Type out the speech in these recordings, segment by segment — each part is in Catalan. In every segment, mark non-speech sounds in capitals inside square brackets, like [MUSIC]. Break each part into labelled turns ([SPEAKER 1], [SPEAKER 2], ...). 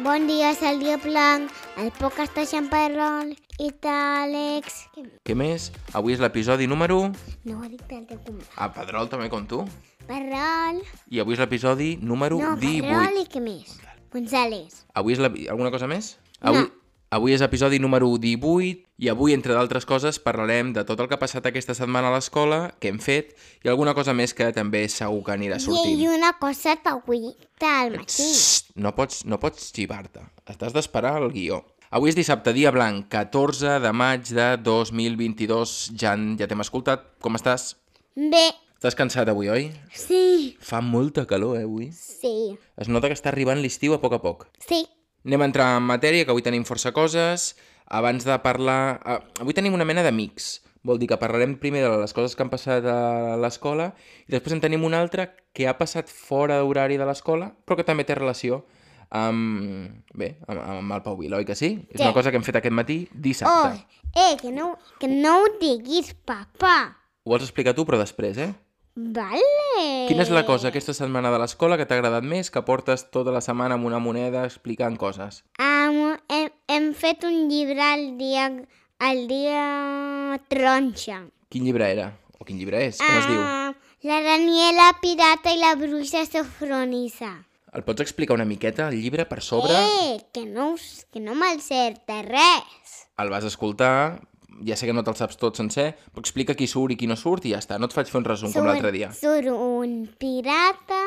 [SPEAKER 1] Bon dia, el dia blanc, el poc està xamparrol i tàlex.
[SPEAKER 2] Què més? Avui és l'episodi número...
[SPEAKER 1] No ho ha dit pel teu company.
[SPEAKER 2] A Pedrol també com tu.
[SPEAKER 1] Parrol.
[SPEAKER 2] I avui és l'episodi número
[SPEAKER 1] No,
[SPEAKER 2] 18.
[SPEAKER 1] Parrol i què més? González.
[SPEAKER 2] Avui és la... alguna cosa més?
[SPEAKER 1] No.
[SPEAKER 2] Avui... Avui és episodi número 18 i avui, entre d'altres coses, parlarem de tot el que ha passat aquesta setmana a l'escola, què hem fet i alguna cosa més que també segur que anirà sortint.
[SPEAKER 1] I una cosa d'avui del matí.
[SPEAKER 2] Xxt, no pots, no pots xivar-te. T'has d'esperar el guió. Avui és dissabte, dia blanc, 14 de maig de 2022. Jan, ja t'hem escoltat. Com estàs?
[SPEAKER 1] Bé,
[SPEAKER 2] Estàs cansat avui, oi?
[SPEAKER 1] sí,
[SPEAKER 2] Fa molta calor, eh, avui.
[SPEAKER 1] sí,
[SPEAKER 2] Es nota que està arribant l'estiu a poc a poc.
[SPEAKER 1] sí.
[SPEAKER 2] Anem a entrar en matèria, que avui tenim força coses. Abans de parlar... ah, Avui tenim una mena de mix. Vol dir que parlarem primer de les coses que han passat a l'escola i després en tenim una altra que ha passat fora d'horari de l'escola, però que també té relació amb... Bé, amb, amb el Pau Vila, oi que sí? És una
[SPEAKER 1] Sí.
[SPEAKER 2] cosa que hem fet aquest matí
[SPEAKER 1] Oh,
[SPEAKER 2] dissabte.
[SPEAKER 1] eh, que no, que no ho diguis, papà.
[SPEAKER 2] Ho vols explicar tu, però després, eh?
[SPEAKER 1] Vale.
[SPEAKER 2] Quina és la
[SPEAKER 1] Eh.
[SPEAKER 2] cosa aquesta setmana de l'escola que t'ha agradat més, que portes tota la setmana amb una moneda explicant coses?
[SPEAKER 1] Um, hem, hem fet un llibre el dia, el dia taronja.
[SPEAKER 2] Quin llibre era? O quin llibre és? Com es diu?
[SPEAKER 1] Ah, La Daniela Pirata i la Bruixa Sofronisa.
[SPEAKER 2] El pots explicar una miqueta, el llibre, per sobre?
[SPEAKER 1] Eh, que no, us- que no m'encerta res.
[SPEAKER 2] El vas escoltar, ja sé que no te'l saps tot sencer, però explica qui surt i qui no surt i ja està. No et faig fer un resum com l'altre dia.
[SPEAKER 1] Surt un pirata,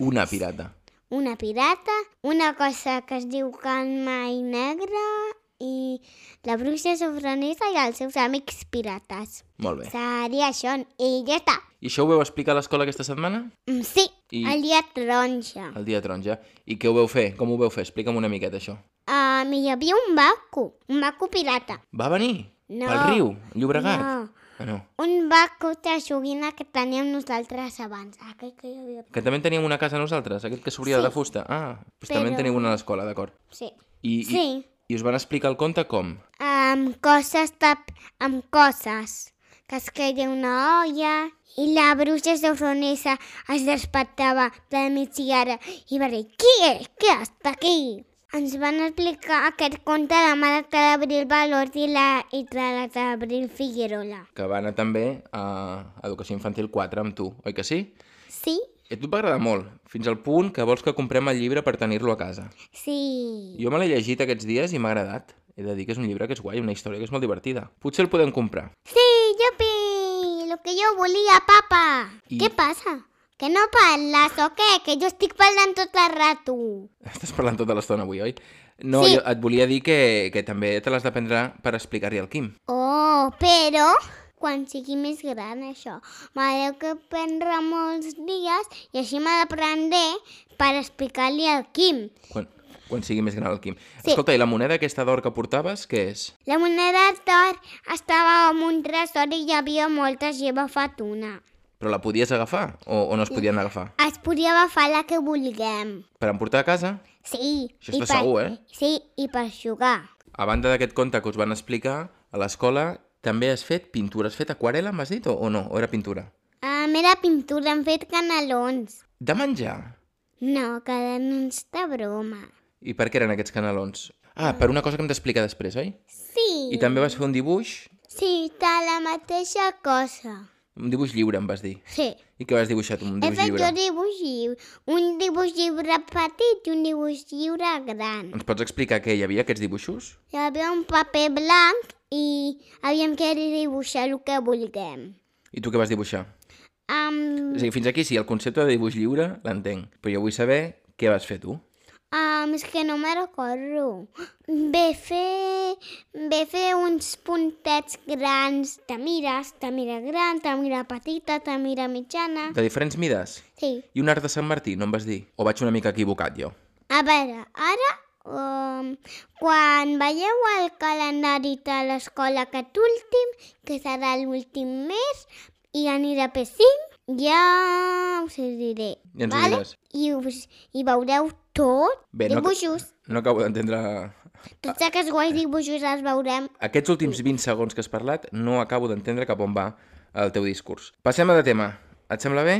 [SPEAKER 2] Una pirata.
[SPEAKER 1] una pirata, una cosa que es diu Calma i Negra i la bruixa sofronisa i els seus amics pirates.
[SPEAKER 2] Molt bé.
[SPEAKER 1] Seria això i ja està.
[SPEAKER 2] I això ho veu explicar a l'escola aquesta setmana?
[SPEAKER 1] Mm, Sí,
[SPEAKER 2] I-
[SPEAKER 1] el dia taronja.
[SPEAKER 2] El dia taronja. I què ho veu fer? Com ho veu fer? Explica'm una miqueta això.
[SPEAKER 1] Um, hi havia un baco, un baco pirata.
[SPEAKER 2] Va venir?
[SPEAKER 1] No.
[SPEAKER 2] Pel riu? Llobregat?
[SPEAKER 1] No.
[SPEAKER 2] Ah, no.
[SPEAKER 1] Un baco de joguina que teníem nosaltres abans. Aquell que hi havia...
[SPEAKER 2] Que també en teníem una a casa nosaltres, aquest que s'obria de la fusta. Ah, doncs també en
[SPEAKER 1] Però-
[SPEAKER 2] teniu una a l'escola, d'acord.
[SPEAKER 1] Sí.
[SPEAKER 2] I,
[SPEAKER 1] I... Sí,
[SPEAKER 2] i, I us van explicar el conte com?
[SPEAKER 1] amb coses, de... amb coses. Que es queia una olla i la bruixa sofronesa es despertava de migdiada i va dir qui és que està aquí? Ens van explicar aquest conte de Mare Calabril Valors i la, i de la Calabril Figuerola.
[SPEAKER 2] Que va anar també a Educació Infantil 4 amb tu, oi que sí?
[SPEAKER 1] Sí?
[SPEAKER 2] I a tu et va agradar molt, fins al punt que vols que comprem el llibre per tenir-lo a casa.
[SPEAKER 1] Sí.
[SPEAKER 2] Jo me l'he llegit aquests dies i m'ha agradat. He de dir que és un llibre que és guai, una història que és molt divertida. Potser el podem comprar. [LAUGHS]
[SPEAKER 1] Sí, yupi, lo que yo volía, papà.
[SPEAKER 2] I-
[SPEAKER 1] Què passa? Que no parles o què? Que jo estic parlant tot el rato.
[SPEAKER 2] Estàs parlant tota l'estona avui, oi? No,
[SPEAKER 1] Sí.
[SPEAKER 2] jo et volia dir que, que també te l'has d'aprendre per explicar-li al Quim.
[SPEAKER 1] Oh, però quan sigui més gran això, m'hauré que prendre molts dies i així me l'aprendré per explicar-li al Quim.
[SPEAKER 2] Quan, quan sigui més gran el Quim. Escolta, i la moneda aquesta d'or que portaves, què és?
[SPEAKER 1] La moneda d'or estava en un tresor i hi havia molta gent agafat una.
[SPEAKER 2] Però la podies agafar o, o no es podien agafar?
[SPEAKER 1] Es podia agafar la que vulguem.
[SPEAKER 2] Per emportar a casa?
[SPEAKER 1] Sí.
[SPEAKER 2] Això
[SPEAKER 1] i
[SPEAKER 2] està segur, eh?
[SPEAKER 1] Sí, i per jugar.
[SPEAKER 2] A banda d'aquest conte que us van explicar, a l'escola també has fet pintura. Has fet aquarela, m'has dit, o, o no? O era pintura?
[SPEAKER 1] A Ah, mera pintura han fet canelons.
[SPEAKER 2] De menjar?
[SPEAKER 1] No, canelons de broma.
[SPEAKER 2] I per què eren aquests canelons? Ah, per una cosa que hem d'explicar després, oi?
[SPEAKER 1] Sí,
[SPEAKER 2] I també vas fer un dibuix,
[SPEAKER 1] sí, de la mateixa cosa.
[SPEAKER 2] un dibuix lliure, em vas dir.
[SPEAKER 1] Sí.
[SPEAKER 2] I què vas dibuixar tu, amb un
[SPEAKER 1] He
[SPEAKER 2] dibuix
[SPEAKER 1] fet dos
[SPEAKER 2] lliure?
[SPEAKER 1] dibuix lliure. Un dibuix lliure petit i un dibuix lliure gran.
[SPEAKER 2] Ens pots explicar què hi havia, aquests dibuixos?
[SPEAKER 1] Hi havia un paper blanc i havíem de dibuixar el que vulguem.
[SPEAKER 2] I tu què vas dibuixar?
[SPEAKER 1] Um,
[SPEAKER 2] O sigui, fins aquí sí, el concepte de dibuix lliure l'entenc, però jo vull saber què vas fer tu.
[SPEAKER 1] um, és que no me recordo. Ve fer, ve fer uns puntets grans. Te mires, te mira gran, te mira petita, te mira mitjana.
[SPEAKER 2] De diferents mides.
[SPEAKER 1] Sí.
[SPEAKER 2] I un arc de Sant Martí, no em vas dir? O vaig una mica equivocat, jo?
[SPEAKER 1] A veure, ara, um, quan veieu el calendari de l'escola aquest últim, que serà l'últim mes, i anirà a P5, ja us ho diré.
[SPEAKER 2] Ja ens ho
[SPEAKER 1] vale?
[SPEAKER 2] diràs.
[SPEAKER 1] I, us, I veureu tot,
[SPEAKER 2] Bé, no- Ah.
[SPEAKER 1] dibuixos.
[SPEAKER 2] No acabo d'entendre...
[SPEAKER 1] Tots aquests guais dibuixos els veurem
[SPEAKER 2] Aquests últims 20 segons que has parlat no acabo d'entendre cap on va el teu discurs. Passem a de tema. Et sembla bé?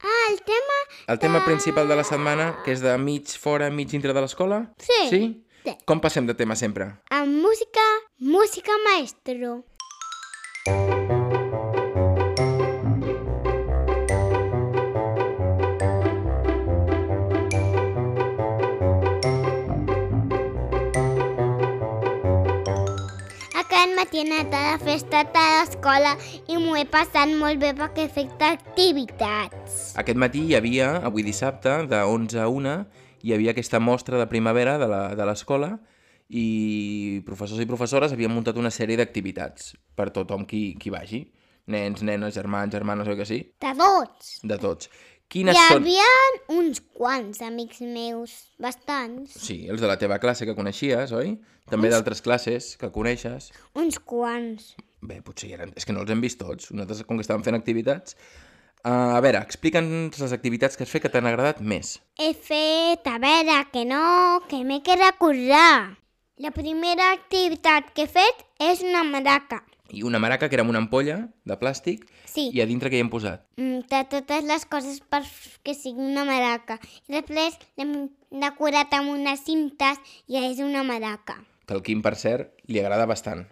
[SPEAKER 1] Ah, el tema...
[SPEAKER 2] El tema principal de la setmana, que és de mig fora, mig dintre de l'escola?
[SPEAKER 1] Sí.
[SPEAKER 2] Sí?
[SPEAKER 1] Sí.
[SPEAKER 2] Com passem de tema sempre?
[SPEAKER 1] Amb música, música maestro. Acá en matí he anat a la festa de l'escola i m'ho he passat molt bé perquè he fet activitats.
[SPEAKER 2] Aquest matí hi havia, avui dissabte, de 11 a 1, hi havia aquesta mostra de primavera de la- de l'escola i professors i professores havien muntat una sèrie d'activitats per tothom qui, qui vagi. Nens, nenes, germans, germanes, oi que sí?
[SPEAKER 1] De tots.
[SPEAKER 2] De tots.
[SPEAKER 1] Hi
[SPEAKER 2] Quines són...
[SPEAKER 1] havia uns quants amics meus, bastants.
[SPEAKER 2] Sí, els de la teva classe que coneixies, oi? També d'altres classes que coneixes.
[SPEAKER 1] Uns quants.
[SPEAKER 2] Bé, potser hi eren... És que no els hem vist tots. Nosaltres, com que estàvem fent activitats... Uh, a veure, explica'ns les activitats que has fet que t'han agradat més.
[SPEAKER 1] He fet, a veure, que no, que m'he que recordar. La primera activitat que he fet és una maraca.
[SPEAKER 2] I una maraca, que era amb una ampolla de plàstic,
[SPEAKER 1] Sí,
[SPEAKER 2] i a dintre que hi hem posat?
[SPEAKER 1] mm, de totes les coses per que sigui una maraca. I després l'hem decorat amb unes cintes i ja és una maraca.
[SPEAKER 2] Que el Quim, per cert, li agrada bastant,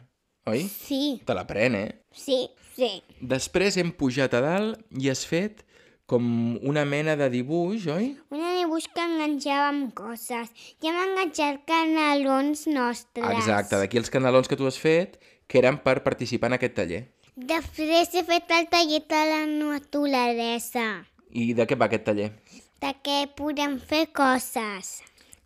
[SPEAKER 2] oi?
[SPEAKER 1] Sí,
[SPEAKER 2] Te la pren, eh?
[SPEAKER 1] sí, sí.
[SPEAKER 2] Després hem pujat a dalt i has fet com una mena de dibuix, oi?
[SPEAKER 1] Una dibuix que enganxava amb coses. Ja m'ha enganxat canelons nostres.
[SPEAKER 2] Exacte, d'aquí els canelons que tu has fet, que eren per participar en aquest taller.
[SPEAKER 1] Després he fet el taller de la naturalesa.
[SPEAKER 2] I de què va aquest taller?
[SPEAKER 1] de què podem fer coses.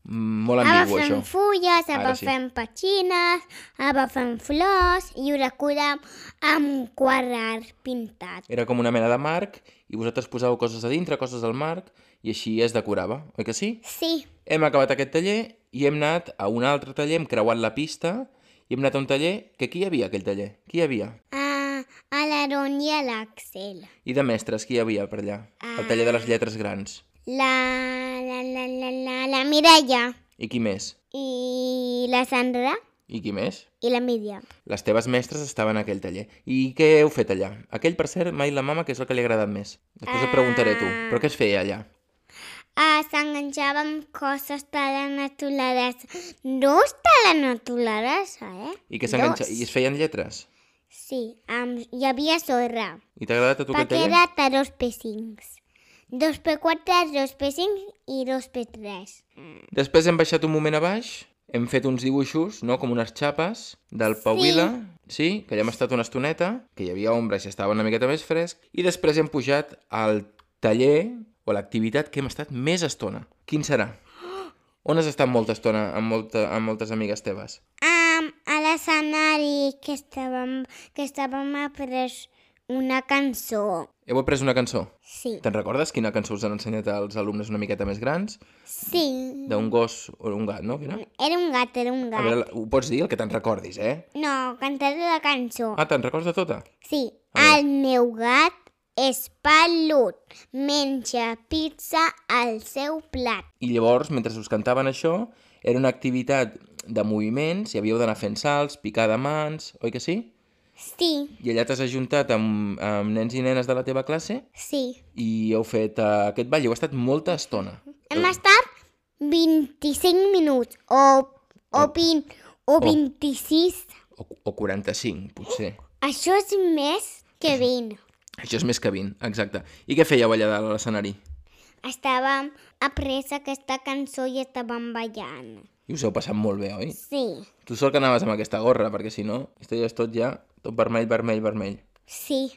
[SPEAKER 2] Mm, Molt
[SPEAKER 1] Ara
[SPEAKER 2] ambigu,
[SPEAKER 1] fem
[SPEAKER 2] això.
[SPEAKER 1] fulles, ara
[SPEAKER 2] Ara sí.
[SPEAKER 1] fem petxines, ara fem flors i ho decorem amb un quadrat pintat.
[SPEAKER 2] Era com una mena de marc i vosaltres posàveu coses a dintre, coses al marc, i així es decorava, oi que sí?
[SPEAKER 1] Sí,
[SPEAKER 2] Hem acabat aquest taller i hem anat a un altre taller, hem creuat la pista i hem anat a un taller que qui hi havia, aquell taller? Qui hi havia?
[SPEAKER 1] a, a l'Aaron i a l'Axel.
[SPEAKER 2] I de mestres, qui hi havia per allà? El taller de les lletres grans.
[SPEAKER 1] La, la, la, la, la, la Mireia
[SPEAKER 2] I qui més?
[SPEAKER 1] i la Sandra
[SPEAKER 2] I qui més?
[SPEAKER 1] i la Míriam.
[SPEAKER 2] Les teves mestres estaven a aquell taller. I què heu fet allà? Aquell, per cert, mai la mama, que és el que li ha agradat més. Després et preguntaré a tu. Però què es feia allà?
[SPEAKER 1] Ah, S'enganxava amb coses de la naturalesa. Dos de la naturalesa, eh?
[SPEAKER 2] I que s'enganxa...
[SPEAKER 1] Dos.
[SPEAKER 2] I es feien lletres?
[SPEAKER 1] Sí, amb, hi havia sorra.
[SPEAKER 2] I t'ha agradat a tu aquest
[SPEAKER 1] Perquè
[SPEAKER 2] taller?
[SPEAKER 1] era de 2x5. 2x4, 2x5 i 2x3.
[SPEAKER 2] Després hem baixat un moment a baix, hem fet uns dibuixos, no? Com unes xapes del Pau
[SPEAKER 1] Sí.
[SPEAKER 2] Vila, sí, que ja hem estat una estoneta, que hi havia ombra i estava una miqueta més fresc, i després hem pujat al taller o a l'activitat que hem estat més estona. Quin serà? On has estat molta estona amb, molta, amb moltes amigues teves?
[SPEAKER 1] Um, a l'escenari que estàvem, que estàvem après una cançó.
[SPEAKER 2] Heu après una cançó?
[SPEAKER 1] Sí,
[SPEAKER 2] Te'n recordes quina cançó us han ensenyat als alumnes una miqueta més grans?
[SPEAKER 1] sí.
[SPEAKER 2] D'un gos o un gat, no? Quina?
[SPEAKER 1] Era un gat, era un
[SPEAKER 2] A
[SPEAKER 1] gat.
[SPEAKER 2] veure, ho pots dir, el que te'n recordis, eh?
[SPEAKER 1] No, cantaré la cançó.
[SPEAKER 2] Ah, te'n recordes de tota?
[SPEAKER 1] Sí,
[SPEAKER 2] A veure.
[SPEAKER 1] el meu gat és pelut, menja pizza al seu plat.
[SPEAKER 2] I llavors, mentre us cantaven això, era una activitat de moviments, i havíeu d'anar fent salts, picar de mans, oi que sí?
[SPEAKER 1] Sí,
[SPEAKER 2] I allà t'has ajuntat amb, amb nens i nenes de la teva classe
[SPEAKER 1] sí.
[SPEAKER 2] i heu fet uh, aquest ball, heu estat molta estona.
[SPEAKER 1] Hem estat 25 minuts o, o, 20, o
[SPEAKER 2] Oh.
[SPEAKER 1] 26.
[SPEAKER 2] O, o 45, potser.
[SPEAKER 1] Això és més que 20.
[SPEAKER 2] Això és més que 20, exacte. I què fèieu allà dalt a l'escenari?
[SPEAKER 1] Estàvem apresa aquesta cançó i estàvem ballant.
[SPEAKER 2] I us heu passat molt bé, oi?
[SPEAKER 1] Sí,
[SPEAKER 2] Tu sol que anaves amb aquesta gorra, perquè si no, estaries tot ja, tot vermell, vermell, vermell.
[SPEAKER 1] sí,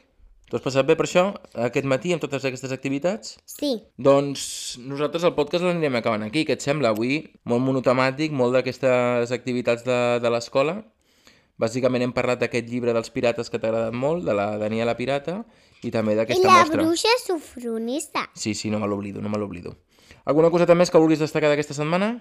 [SPEAKER 2] T'ho has passat bé per això, aquest matí, amb totes aquestes activitats?
[SPEAKER 1] sí.
[SPEAKER 2] Doncs nosaltres el podcast l'anirem acabant aquí, què et sembla? Avui molt monotemàtic, molt d'aquestes activitats de, de l'escola. Bàsicament hem parlat d'aquest llibre dels pirates que t'ha agradat molt, de la Daniela Pirata, i també
[SPEAKER 1] I
[SPEAKER 2] d'aquesta
[SPEAKER 1] la
[SPEAKER 2] mostra.
[SPEAKER 1] bruixa sofronista.
[SPEAKER 2] Sí, sí, no me l'oblido, no me l'oblido. Alguna coseta més que vulguis destacar d'aquesta setmana?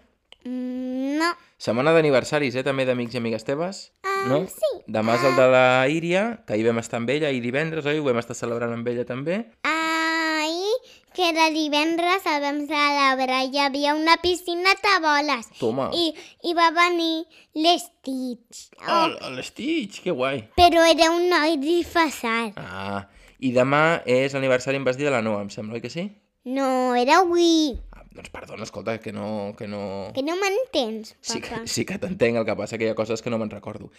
[SPEAKER 1] Mm, No,
[SPEAKER 2] Setmana d'aniversaris, eh, també d'amics i amigues teves,
[SPEAKER 1] Ah,
[SPEAKER 2] no?
[SPEAKER 1] sí.
[SPEAKER 2] Demà és el de la Íria, que ahir vam estar amb ella, i divendres, oi? Ho vam estar celebrant amb ella també.
[SPEAKER 1] ahir que era divendres el vam celebrar i hi havia una piscina de boles.
[SPEAKER 2] Toma, I...
[SPEAKER 1] I, i va venir l'Stitch.
[SPEAKER 2] oh, Ah, l'Stitch, que guai.
[SPEAKER 1] Però era un noi disfressat.
[SPEAKER 2] Ah, I demà és l'aniversari, em vas dir, de la Noa, em sembla, oi que sí?
[SPEAKER 1] No, era avui.
[SPEAKER 2] Ah, doncs perdona, escolta, que no... Que no...
[SPEAKER 1] Que no m'entens,
[SPEAKER 2] Sí
[SPEAKER 1] papa.
[SPEAKER 2] que, sí que t'entenc, el que passa que hi ha coses que no me'n recordo.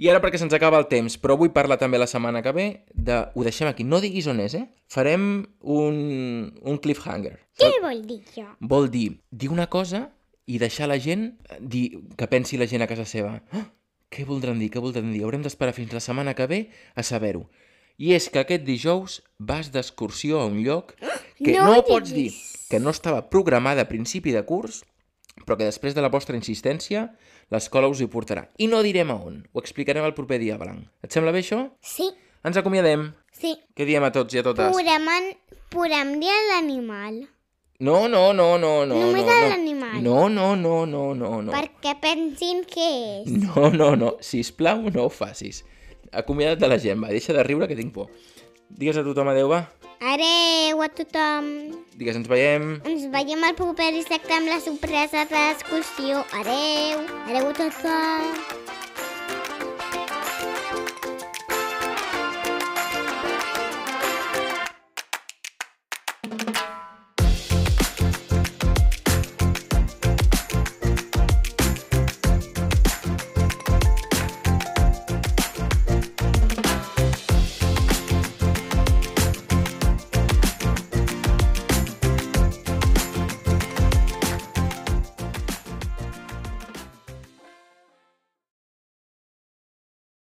[SPEAKER 2] I ara perquè se'ns acaba el temps, però vull parlar també la setmana que ve de... Ho deixem aquí, no diguis on és, eh? Farem un, un cliffhanger.
[SPEAKER 1] Què vol dir jo?
[SPEAKER 2] Vol dir dir una cosa i deixar la gent eh, dir que pensi la gent a casa seva. Ah, què voldran dir, què voldran dir? Haurem d'esperar fins la setmana que ve a saber-ho. I és que aquest dijous vas d'excursió a un lloc que
[SPEAKER 1] Ah, No
[SPEAKER 2] no,
[SPEAKER 1] ho
[SPEAKER 2] pots dir
[SPEAKER 1] diguis.
[SPEAKER 2] que no estava programada a principi de curs, però que després de la vostra insistència l'escola us hi portarà. I no direm a on, ho explicarem el proper dia blanc. Et sembla bé això?
[SPEAKER 1] Sí,
[SPEAKER 2] Ens acomiadem.
[SPEAKER 1] sí.
[SPEAKER 2] Què diem a tots i a totes?
[SPEAKER 1] Purament, purem dia l'animal.
[SPEAKER 2] No, no, no, no, no.
[SPEAKER 1] Només
[SPEAKER 2] no,
[SPEAKER 1] a
[SPEAKER 2] no.
[SPEAKER 1] l'animal.
[SPEAKER 2] No, no, no, no, no, no.
[SPEAKER 1] Perquè pensin que és.
[SPEAKER 2] No, no, no. Sisplau, no ho facis. Acomiada't de la gent, va. Deixa de riure, que tinc por. Digues a tothom adeu, va.
[SPEAKER 1] Adeu a tothom.
[SPEAKER 2] Digues ens veiem.
[SPEAKER 1] Ens veiem al proper dissabte amb la sorpresa de l'excursió. Adeu. Adeu a tothom.